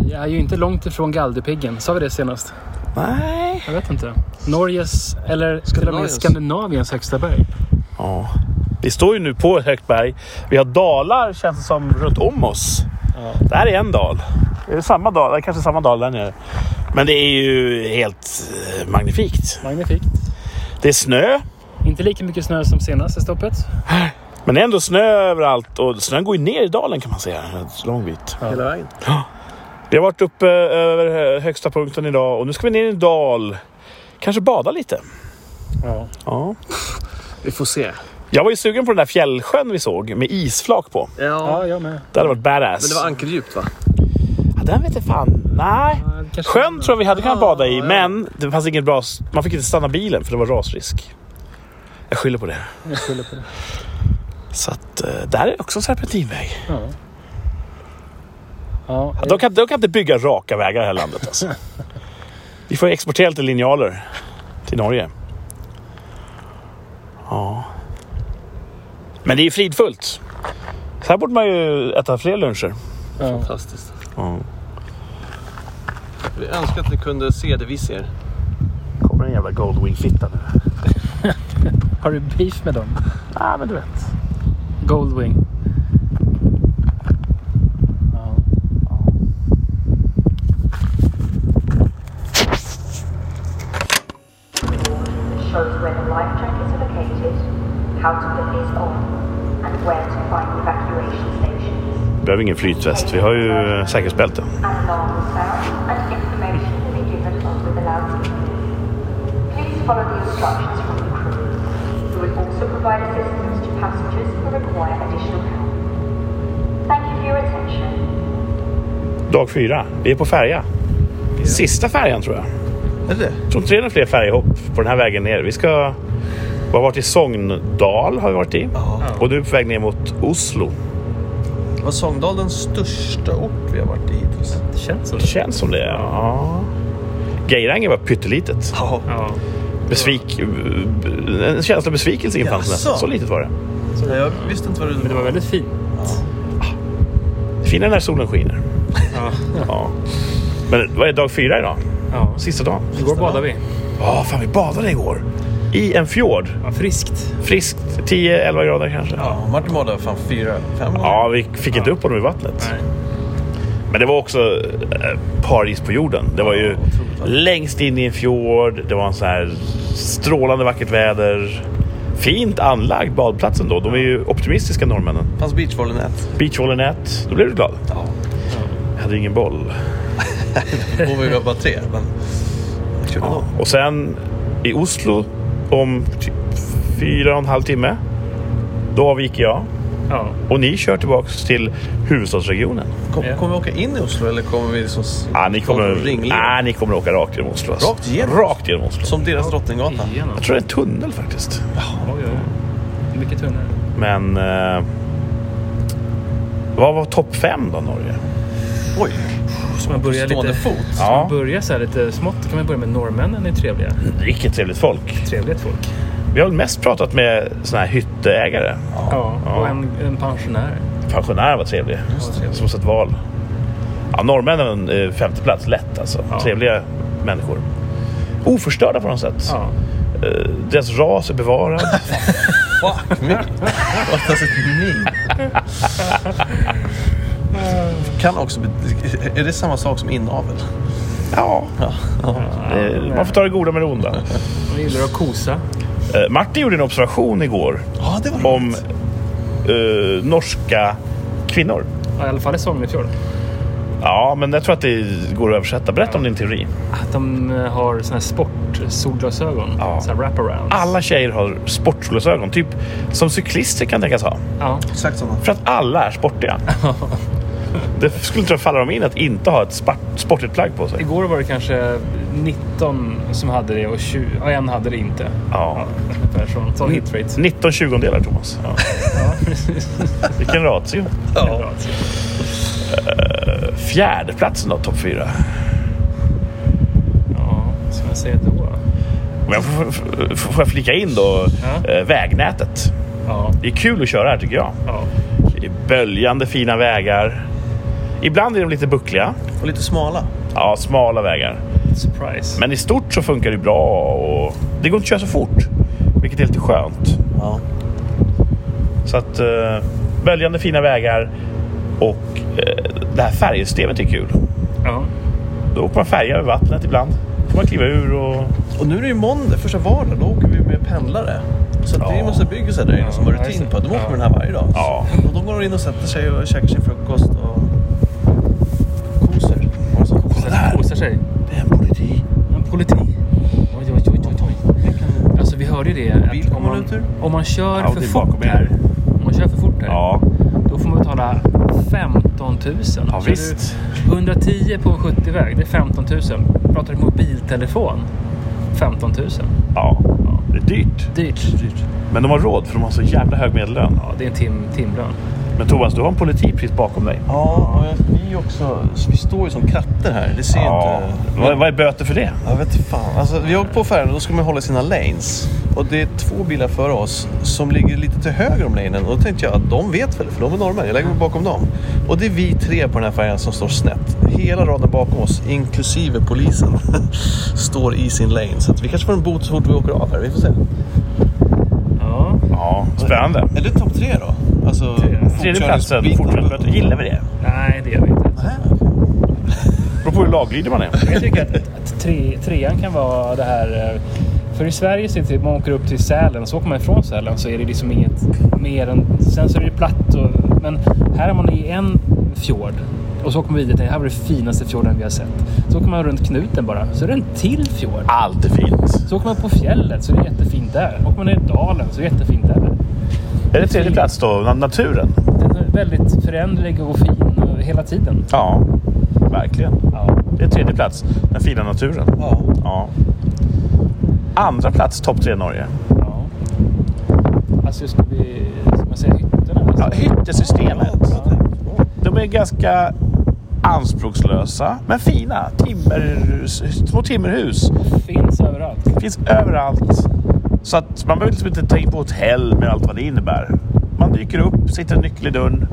[SPEAKER 3] Jag är ju inte långt ifrån Galdhöpiggen. Sa vi det senast?
[SPEAKER 1] Nej.
[SPEAKER 3] Jag vet inte. Norges, eller till och med
[SPEAKER 4] Skandinaviens.
[SPEAKER 3] Skandinaviens högsta berg.
[SPEAKER 1] Ja. Vi står ju nu på ett högt berg. Vi har dalar känns det som runt om oss. Det här är en dal. Det är samma dal, det är kanske samma dal där nere. Men det är ju helt eh, magnifikt.
[SPEAKER 3] Magnifikt.
[SPEAKER 1] Det är snö,
[SPEAKER 3] Inte lika mycket snö som senaste stoppet.
[SPEAKER 1] men det är ändå snö överallt och snön går ju ner i dalen kan man säga. En lång bit.
[SPEAKER 4] Hela vägen.
[SPEAKER 1] Vi har varit uppe eh, över hö- högsta punkten idag och nu ska vi ner i en dal. Kanske bada lite.
[SPEAKER 3] Ja.
[SPEAKER 1] Ja.
[SPEAKER 4] Vi får se.
[SPEAKER 1] Jag var ju sugen på den där fjällsjön vi såg med isflak på.
[SPEAKER 4] Ja,
[SPEAKER 3] Ja, jag med.
[SPEAKER 1] Det hade varit badass.
[SPEAKER 4] Men det var ankerdjupt va?
[SPEAKER 1] Ja, den vet jag fan. Nej.
[SPEAKER 3] Kanske-
[SPEAKER 1] Sjön tror jag vi hade kunnat
[SPEAKER 4] Ah,
[SPEAKER 1] bada i,
[SPEAKER 4] ja.
[SPEAKER 1] men det fanns inget bra... Man fick inte stanna bilen för det var rasrisk. Jag skyller på det.
[SPEAKER 3] Jag skyller på det.
[SPEAKER 1] Så att eh, där är också en serpentinväg.
[SPEAKER 3] Ja. Ja,
[SPEAKER 1] Ja, De kan, de kan inte bygga raka vägar i det här landet alltså. Vi får exportera lite linjaler till Norge. Ja. Men det är ju fridfullt. Så här borde man ju äta fler luncher.
[SPEAKER 3] ja.
[SPEAKER 4] Fantastiskt. Vi önskar att ni kunde se det vi ser.
[SPEAKER 1] Kommer en jävla Goldwing-fitta nu.
[SPEAKER 3] Har du beef med dem?
[SPEAKER 1] Ja, men du vet.
[SPEAKER 3] Goldwing. Ja.
[SPEAKER 8] shows where the life track is located, how to put these on, and where to find evacuation stations.
[SPEAKER 1] Vi behöver ingen flytväst. Vi har ju eh, säkerhetsbälte.
[SPEAKER 8] An alarm will sound, and information will be given over the loudspeakers. Please follow the instructions from the crew, who will also provide assistance to passengers who require additional help. Thank you for your attention.
[SPEAKER 1] Dag fyra. Vi är på färja. Sista färjan tror jag.
[SPEAKER 4] Är det
[SPEAKER 1] Jag tror inte det är några fler färjehopp på den här vägen ner. Vi ska... Vi har varit i Sogndal har vi varit i. Och du är på väg ner mot Oslo.
[SPEAKER 4] Var Sogndal den största ort vi har varit i hittills?
[SPEAKER 3] Det känns så.
[SPEAKER 1] Det känns som det. Ja. Geirange var pyttelitet.
[SPEAKER 4] Ja.
[SPEAKER 3] Ja.
[SPEAKER 1] Besvik... En känsla av besvikelse infann sig nästan.
[SPEAKER 4] Jaså?
[SPEAKER 1] Så litet var det.
[SPEAKER 4] Jag visste inte vad
[SPEAKER 3] Men det var väldigt fint.
[SPEAKER 1] Fina när solen skiner. Ja. Men vad är dag fyra idag?
[SPEAKER 3] Ja.
[SPEAKER 1] Sista dagen.
[SPEAKER 3] Igår badade vi.
[SPEAKER 1] Ja, fan vi badade igår. I en fjord.
[SPEAKER 3] Ja, friskt.
[SPEAKER 1] Friskt. 10-11 grader kanske.
[SPEAKER 4] Ja, Martin badade fan fyra, fem gånger.
[SPEAKER 1] Ja, vi fick inte upp honom i vattnet. Men det var också eh, paradis på jorden. Det var ju
[SPEAKER 4] otroligt vackert.
[SPEAKER 1] längst in i en fjord. Det var en så här strålande vackert väder. Fint anlagd badplats ändå. De är ju optimistiska norrmännen.
[SPEAKER 4] Fanns beachvolleynät.
[SPEAKER 1] Beachvolleynät. Då blev du glad.
[SPEAKER 4] Ja.
[SPEAKER 1] Jag hade ingen boll.
[SPEAKER 4] Och vi var bara tre. Men... Jag körde någon.
[SPEAKER 1] Och sen i Oslo om typ fyra och en halv timme. Då avviker jag.
[SPEAKER 3] Ja.
[SPEAKER 1] Och ni kör tillbaks till huvudstadsregionen.
[SPEAKER 4] Kom, Kommer vi åka in i Oslo eller kommer vi liksom... s-
[SPEAKER 1] Ah, ni,
[SPEAKER 4] gå
[SPEAKER 1] kommer,
[SPEAKER 4] en ringled?
[SPEAKER 1] ah, ni kommer åka rakt genom Oslo. alltså.
[SPEAKER 4] Rakt igenom?
[SPEAKER 1] Rakt genom Oslo.
[SPEAKER 4] Som deras Drottninggatan.
[SPEAKER 3] Igenom.
[SPEAKER 1] Jag tror det är en tunnel faktiskt.
[SPEAKER 3] Oj, oj, oj. Mycket tunnare.
[SPEAKER 1] Men... Eh, vad var topp fem då, Norge?
[SPEAKER 4] Oj,
[SPEAKER 3] Så man börjar
[SPEAKER 4] stående
[SPEAKER 3] lite...
[SPEAKER 4] fot.
[SPEAKER 3] Ja. Man
[SPEAKER 1] Ja, Mm.
[SPEAKER 3] börjar så här lite smått. kan man börja med norrmännen. är trevliga.
[SPEAKER 1] vilket trevligt folk.
[SPEAKER 3] Trevligt folk.
[SPEAKER 1] Vi har väl mest pratat med såna här hytteägare.
[SPEAKER 3] Ja.
[SPEAKER 1] Ja.
[SPEAKER 3] Och en, en pensionär.
[SPEAKER 1] Pensionärer var trevlig. Som sett val. Ja, norrmännen eh, femte plats lätt alltså.
[SPEAKER 3] Ja.
[SPEAKER 1] Trevliga människor. Oförstörda på något sätt.
[SPEAKER 3] Ja.
[SPEAKER 1] Eh, deras ras är bevarad.
[SPEAKER 4] Fuck me. Vad ett min. Kan också be- är det samma sak som inavel?
[SPEAKER 1] Ja. Eh, Man får ta det goda med det onda.
[SPEAKER 7] Jag gillar att kosa.
[SPEAKER 1] Eh, Martin gjorde en observation igår
[SPEAKER 4] Ja, det var
[SPEAKER 1] om
[SPEAKER 4] roligt.
[SPEAKER 1] eh, norska kvinnor.
[SPEAKER 7] Ja, I alla fall i sången i fjol.
[SPEAKER 1] Ja, men jag tror att det går att översätta. Berätta om din teori.
[SPEAKER 7] Att de eh, har såna här sport-solglasögon.
[SPEAKER 1] Ja.
[SPEAKER 7] Så här wraparounds.
[SPEAKER 1] Alla tjejer har sportsolglasögon, typ som cyklister kan tänkas ha.
[SPEAKER 7] Ja.
[SPEAKER 4] Exakt sådana.
[SPEAKER 1] För att alla är sportiga. Det skulle inte falla dem in att inte ha ett spart- sportigt plagg på sig.
[SPEAKER 7] Igår var det kanske 19 som hade det och, 20, och en hade det inte.
[SPEAKER 1] Ja.
[SPEAKER 7] Ungefär sån, sån
[SPEAKER 1] Mm.
[SPEAKER 7] hitrate.
[SPEAKER 1] 19 tjugondelar, Thomas.
[SPEAKER 7] Ja, precis.
[SPEAKER 1] Vilken ratio.
[SPEAKER 7] Ja.
[SPEAKER 1] Fjärdeplatsen då, topp fyra.
[SPEAKER 7] ja, vad ska man säga då?
[SPEAKER 1] Om jag får, får- får jag flika in då,
[SPEAKER 7] Ja.
[SPEAKER 1] eh, vägnätet.
[SPEAKER 7] Ja,
[SPEAKER 1] Det är kul att köra här tycker jag.
[SPEAKER 7] ja.
[SPEAKER 1] Det är böljande fina vägar. Ibland är de lite buckliga.
[SPEAKER 4] Och lite smala.
[SPEAKER 1] Ja, smala vägar.
[SPEAKER 7] Surprise.
[SPEAKER 1] Men i stort så funkar det bra och det går inte att köra så fort. Vilket är lite skönt.
[SPEAKER 4] Ja.
[SPEAKER 1] Så att eh, böljande fina vägar och eh, det här färgsystemet är kul.
[SPEAKER 7] Ja.
[SPEAKER 1] Då åker man färja över vattnet ibland. Då får man kliva ur och...
[SPEAKER 4] Och nu är det ju måndag, första vardag, då åker vi med pendlare. Så att det är ju en massa byggisar där inne som har
[SPEAKER 7] Ja,
[SPEAKER 4] rutin
[SPEAKER 7] just
[SPEAKER 4] på.
[SPEAKER 7] det.
[SPEAKER 4] De åker
[SPEAKER 7] Ja.
[SPEAKER 4] med den här varje dag.
[SPEAKER 1] Ja.
[SPEAKER 4] Och de går in och sätter sig och käkar sin frukost och koser. Och så, kolla
[SPEAKER 7] Den
[SPEAKER 4] där!
[SPEAKER 7] kosar sig.
[SPEAKER 4] Det är en politi.
[SPEAKER 7] En politi. Oj, oj, oj, oj, oj. Alltså vi hörde ju det
[SPEAKER 4] Bil
[SPEAKER 7] att om
[SPEAKER 4] kommer
[SPEAKER 7] man,
[SPEAKER 4] ut ur.
[SPEAKER 7] om man kör
[SPEAKER 1] Ja,
[SPEAKER 7] för
[SPEAKER 1] det är
[SPEAKER 7] fort
[SPEAKER 1] bakom
[SPEAKER 7] här.
[SPEAKER 1] er.
[SPEAKER 7] Om man kör för fort här.
[SPEAKER 1] Ja,
[SPEAKER 7] Då får man betala 15 000.
[SPEAKER 1] ja
[SPEAKER 7] Så
[SPEAKER 1] visst.
[SPEAKER 7] du- 110 på en 70-väg, det är 15 000. Pratar du mobiltelefon, 15 000.
[SPEAKER 1] Ja. Det är dyrt.
[SPEAKER 7] Dyrt. Dyrt.
[SPEAKER 1] Men de har råd för de har så jävla hög medellön.
[SPEAKER 7] Ja, det är en tim, timlön.
[SPEAKER 1] Men Thomas, du har en politik precis bakom dig.
[SPEAKER 4] Ja, och jag, vi är ju också, vi står ju som katter här. Det ser
[SPEAKER 1] Ja.
[SPEAKER 4] inte...
[SPEAKER 1] Vad, vad är böter för det?
[SPEAKER 4] Jag vet inte fan. Alltså, vi åker på färjan och då ska man hålla sina lanes. Och det är två bilar före oss som ligger lite till höger om lanen. Och då tänkte jag att de vet väl, för de är norrmän. Jag lägger mig bakom dem. Och det är vi tre på den här färjan som står snett. Hela raden bakom oss, inklusive polisen, står i sin lane. Så att vi kanske får en bot så fort vi åker av här. Vi får se.
[SPEAKER 7] Ja.
[SPEAKER 1] Ja, spännande.
[SPEAKER 4] Är det topp tre då? Alltså,
[SPEAKER 1] Tredje platsen,
[SPEAKER 4] fortkörningsbiten.
[SPEAKER 1] fortfarande böter. Gillar vi det?
[SPEAKER 7] Nej, det gör vi inte.
[SPEAKER 4] Nej.
[SPEAKER 1] Beror på hur laglydig man är.
[SPEAKER 7] Jag tycker att, att tre, trean kan vara det här... eh, För i Sverige så är det typ, man åker upp till Sälen och så åker man ifrån Sälen så är det liksom inget mer än... Sen så är det platt och... Men här är man i en fjord och så åker man vidare till... Här var det finaste fjorden vi har sett. Så åker man runt knuten bara, så är det en till fjord.
[SPEAKER 1] Allt är fint.
[SPEAKER 7] Så åker man på fjället så är det jättefint där. Åker man ner i dalen så är det jättefint där.
[SPEAKER 1] Är det tredje plats då? Na- Naturen?
[SPEAKER 7] Den är väldigt föränderlig och fin eh, hela tiden.
[SPEAKER 1] Ja, verkligen.
[SPEAKER 7] Ja.
[SPEAKER 1] Det är tredje plats. Den fina naturen.
[SPEAKER 4] Ja.
[SPEAKER 1] Ja. Andra plats, topp tre Norge.
[SPEAKER 7] ja. Alltså ska vi... Ska man säga hytterna? Alltså,
[SPEAKER 1] Ja, hyttesystemet. De är ganska anspråkslösa, men fina. Timmerhus, små timmerhus.
[SPEAKER 7] Finns överallt.
[SPEAKER 1] Finns överallt. Så att man behöver liksom inte ta in på hotell med allt vad det innebär. Man dyker upp, sitter en nyckel i dörren.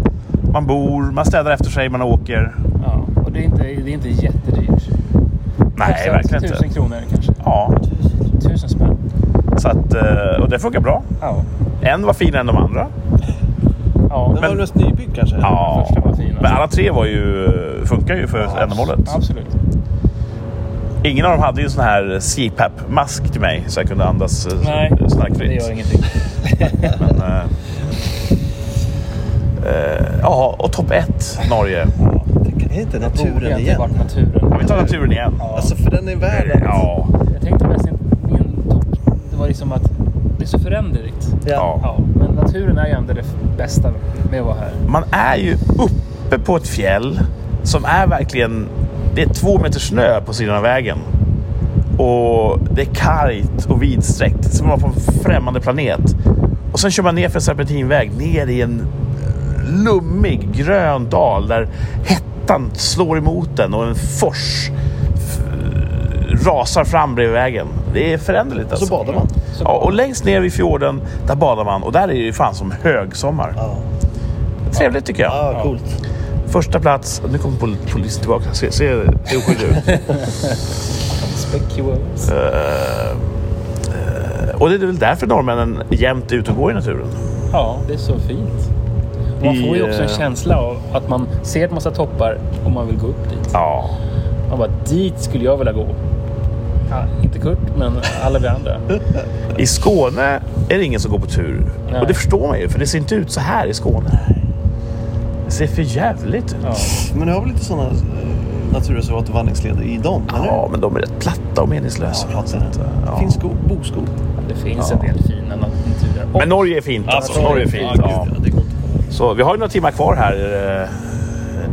[SPEAKER 1] Man bor, man städar efter sig, man åker.
[SPEAKER 7] Ja, och det är inte, det är inte jättedyrt.
[SPEAKER 1] Nej,
[SPEAKER 7] Tusen-
[SPEAKER 1] verkligen inte.
[SPEAKER 7] Tusen kronor kanske.
[SPEAKER 1] Ja,
[SPEAKER 7] Tusen spänn.
[SPEAKER 1] så att, eh, och det funkar bra.
[SPEAKER 7] Ja.
[SPEAKER 1] En var finare än de andra.
[SPEAKER 7] ja.
[SPEAKER 4] Den var
[SPEAKER 1] Men-
[SPEAKER 4] mest nybyggd kanske?
[SPEAKER 1] Ja,
[SPEAKER 7] första var fin, alltså.
[SPEAKER 1] men alla tre var ju, funkar ju för ändamålet.
[SPEAKER 7] Absolut.
[SPEAKER 1] Ingen av dem hade ju en sån här CPAP-mask till mig så jag kunde andas eh,
[SPEAKER 7] Nej, det
[SPEAKER 1] snarkfritt.
[SPEAKER 7] gör ingenting.
[SPEAKER 1] Men, eh, eh, Ja, och topp ett, Norge.
[SPEAKER 4] Är inte
[SPEAKER 7] Borde
[SPEAKER 4] naturen
[SPEAKER 7] inte
[SPEAKER 4] igen?
[SPEAKER 7] varit naturen.
[SPEAKER 1] Vi tar naturen igen.
[SPEAKER 4] Alltså för den är värd allt.
[SPEAKER 1] Ja,
[SPEAKER 7] Jag tänkte mest inte- min topp, det var liksom att det är så föränderligt.
[SPEAKER 1] ja.
[SPEAKER 7] Ja, men naturen är ju ändå det bästa med att vara här.
[SPEAKER 1] Man är ju uppe på ett fjäll som är verkligen... Det är två meter snö på sidan av vägen. Och det är kargt och vidsträckt. Som att vara på en främmande planet. Och sen kör man ner för en serpentinväg ner i en eh, lummig grön dal där hettan slår emot den och en fors f- rasar fram bredvid vägen. Det är föränderligt alltså.
[SPEAKER 4] badar man.
[SPEAKER 1] Ja, och längst ner vid fjorden, där badar man och där är det ju fan som högsommar.
[SPEAKER 4] Ja.
[SPEAKER 1] Trevligt tycker jag.
[SPEAKER 4] Ja, coolt.
[SPEAKER 1] Första plats. Nu kommer pol- polisen tillbaka. Se, se hur oskyldig ut.
[SPEAKER 7] Specuous.
[SPEAKER 1] Och det är väl därför norrmännen jämt är ute och går i naturen.
[SPEAKER 7] Ja, det är så fint. Man
[SPEAKER 1] i,
[SPEAKER 7] får ju också en
[SPEAKER 1] eh,
[SPEAKER 7] känsla av att man ser en massa toppar och man vill gå upp dit.
[SPEAKER 1] Ja.
[SPEAKER 7] Man bara, dit skulle jag vilja gå. Ja, inte Kurt, men alla vi andra.
[SPEAKER 1] I Skåne är det ingen som går på tur.
[SPEAKER 7] Nej.
[SPEAKER 1] Och det förstår man ju, för det ser inte ut så här i Skåne. Det ser för jävligt ut.
[SPEAKER 7] Ja.
[SPEAKER 4] Men du har väl lite sådana naturreservat och vandringsleder i dem?
[SPEAKER 1] Ja, men de är rätt platta och meningslösa.
[SPEAKER 4] Ja, eh,
[SPEAKER 1] Så att, ja.
[SPEAKER 4] Finns skog, boskog?
[SPEAKER 7] Det finns en del fina naturer. Och
[SPEAKER 1] Men Norge är fint alltså. Norge är fint. Ja.
[SPEAKER 4] gud, det går inte.
[SPEAKER 1] Så vi har ju några timmar kvar här. eh,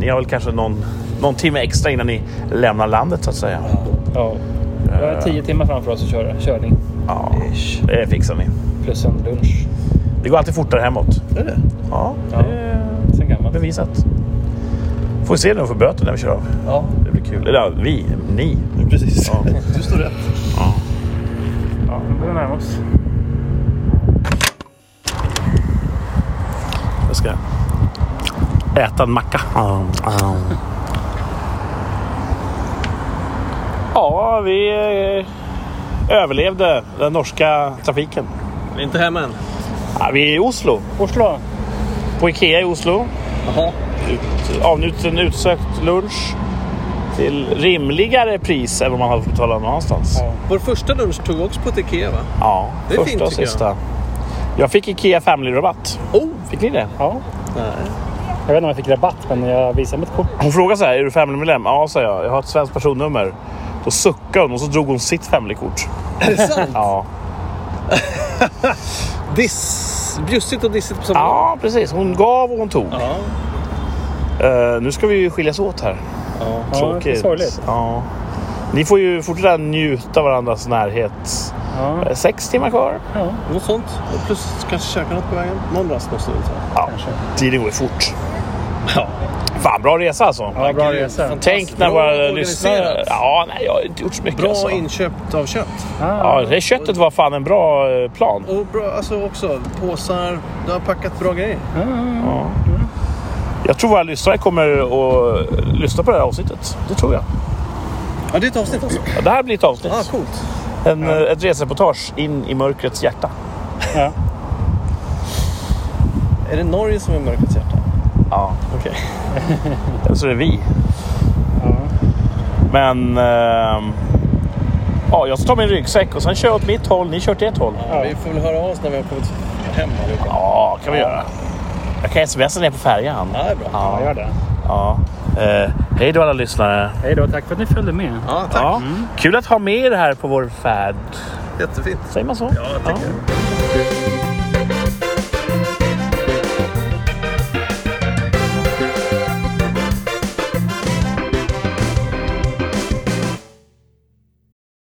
[SPEAKER 1] Ni har väl kanske någon, någon timme extra innan ni lämnar landet så att säga.
[SPEAKER 7] Ja. Vi har tio timmar framför oss att köra. Körning.
[SPEAKER 1] Ja, det fixar ni.
[SPEAKER 7] Plus en lunch.
[SPEAKER 1] Det går alltid fortare hemåt.
[SPEAKER 4] Är det?
[SPEAKER 1] Ja,
[SPEAKER 7] Ja.
[SPEAKER 1] det är
[SPEAKER 7] Sen gammalt.
[SPEAKER 1] bevisat. Får vi se när vi får böter när vi kör av.
[SPEAKER 7] Ja.
[SPEAKER 1] Det blir kul. Eller ja, vi, ni.
[SPEAKER 4] Precis.
[SPEAKER 1] Ja.
[SPEAKER 4] Du står rätt.
[SPEAKER 7] Ja, nu börjar vi närma oss.
[SPEAKER 1] Jag ska äta en macka. Ja, vi eh, överlevde den norska trafiken.
[SPEAKER 9] Vi är inte hemma än.
[SPEAKER 1] Ja, vi är i Oslo.
[SPEAKER 7] Oslo.
[SPEAKER 1] På Ikea i Oslo.
[SPEAKER 9] Jaha.
[SPEAKER 1] Ut, avnjutit en utsökt lunch. Till rimligare pris än vad man hade fått betala någon annanstans. Ja,
[SPEAKER 9] Vår första lunch tog vi också på ett Ikea va? Det är
[SPEAKER 1] första
[SPEAKER 9] fint,
[SPEAKER 1] och
[SPEAKER 9] tycker jag.
[SPEAKER 1] sista. Jag. fick Ikea Family-rabatt.
[SPEAKER 9] Oh!
[SPEAKER 1] Fick ni det? Ja.
[SPEAKER 7] Jag vet inte om jag fick rabatt, men jag visade mitt kort.
[SPEAKER 1] Hon frågade så här, är du Family-medlem? Ja, sa jag. Jag har ett svenskt personnummer. Då suckade hon och så drog hon sitt Family-kort.
[SPEAKER 9] Är det sant?
[SPEAKER 1] Ja.
[SPEAKER 9] Diss. Bjussigt och dissigt på samma gång.
[SPEAKER 1] ja, precis. Hon gav och hon tog.
[SPEAKER 9] Ja.
[SPEAKER 1] Eh, nu ska vi ju skiljas åt här.
[SPEAKER 7] Ja, det är sorgligt.
[SPEAKER 1] Ja. Ni får ju fortsätta njuta av varandras närhet.
[SPEAKER 7] Ja.
[SPEAKER 1] Eh, Sex timmar kvar.
[SPEAKER 4] Något sånt. Och plus kanske käka något på vägen. Någon rast måste vi ta.
[SPEAKER 1] Ja, tiden går ju fort. Fan, bra resa alltså.
[SPEAKER 7] Ja, bra resa.
[SPEAKER 1] Tänk när
[SPEAKER 4] Bra
[SPEAKER 1] våra
[SPEAKER 4] organiserat.
[SPEAKER 1] lyssnare... Ja, nej, jag har inte gjort så mycket.
[SPEAKER 4] Bra
[SPEAKER 1] alltså.
[SPEAKER 4] inköpt av kött.
[SPEAKER 1] ja, det köttet var fan en bra eh, plan.
[SPEAKER 4] Och bra, alltså också påsar. Du har packat bra grejer.
[SPEAKER 1] Jag tror våra lyssnare kommer att eh, lyssna på det här avsnittet. Det tror jag.
[SPEAKER 4] Ja, det är ett avsnitt också.
[SPEAKER 1] Ja, det här blir ett avsnitt.
[SPEAKER 4] Ah, coolt.
[SPEAKER 1] En, eh, Ett resereportage in i mörkrets hjärta.
[SPEAKER 4] Är det Norge som är mörkrets hjärta?
[SPEAKER 1] Ja,
[SPEAKER 4] Okej.
[SPEAKER 1] eller så är det vi. Men... ehm, ja, jag ska ta min ryggsäck och sen kör jag åt mitt håll, ni kör åt ert håll.
[SPEAKER 4] Vi får väl höra av oss när vi har kommit hem allihopa.
[SPEAKER 1] Ja, kan vi göra. Jag kan smsa ner på färjan.
[SPEAKER 4] Ja, det är bra.
[SPEAKER 7] Ja, gör det.
[SPEAKER 1] Ja. Eh, hej då alla lyssnare.
[SPEAKER 7] Hej då. Tack för att ni följde med.
[SPEAKER 4] Ja, tack.
[SPEAKER 1] Ja. Kul att ha med er här på vår färd.
[SPEAKER 4] Jättefint.
[SPEAKER 1] Säger man så?
[SPEAKER 4] Ja, jag tänker.
[SPEAKER 1] Ja.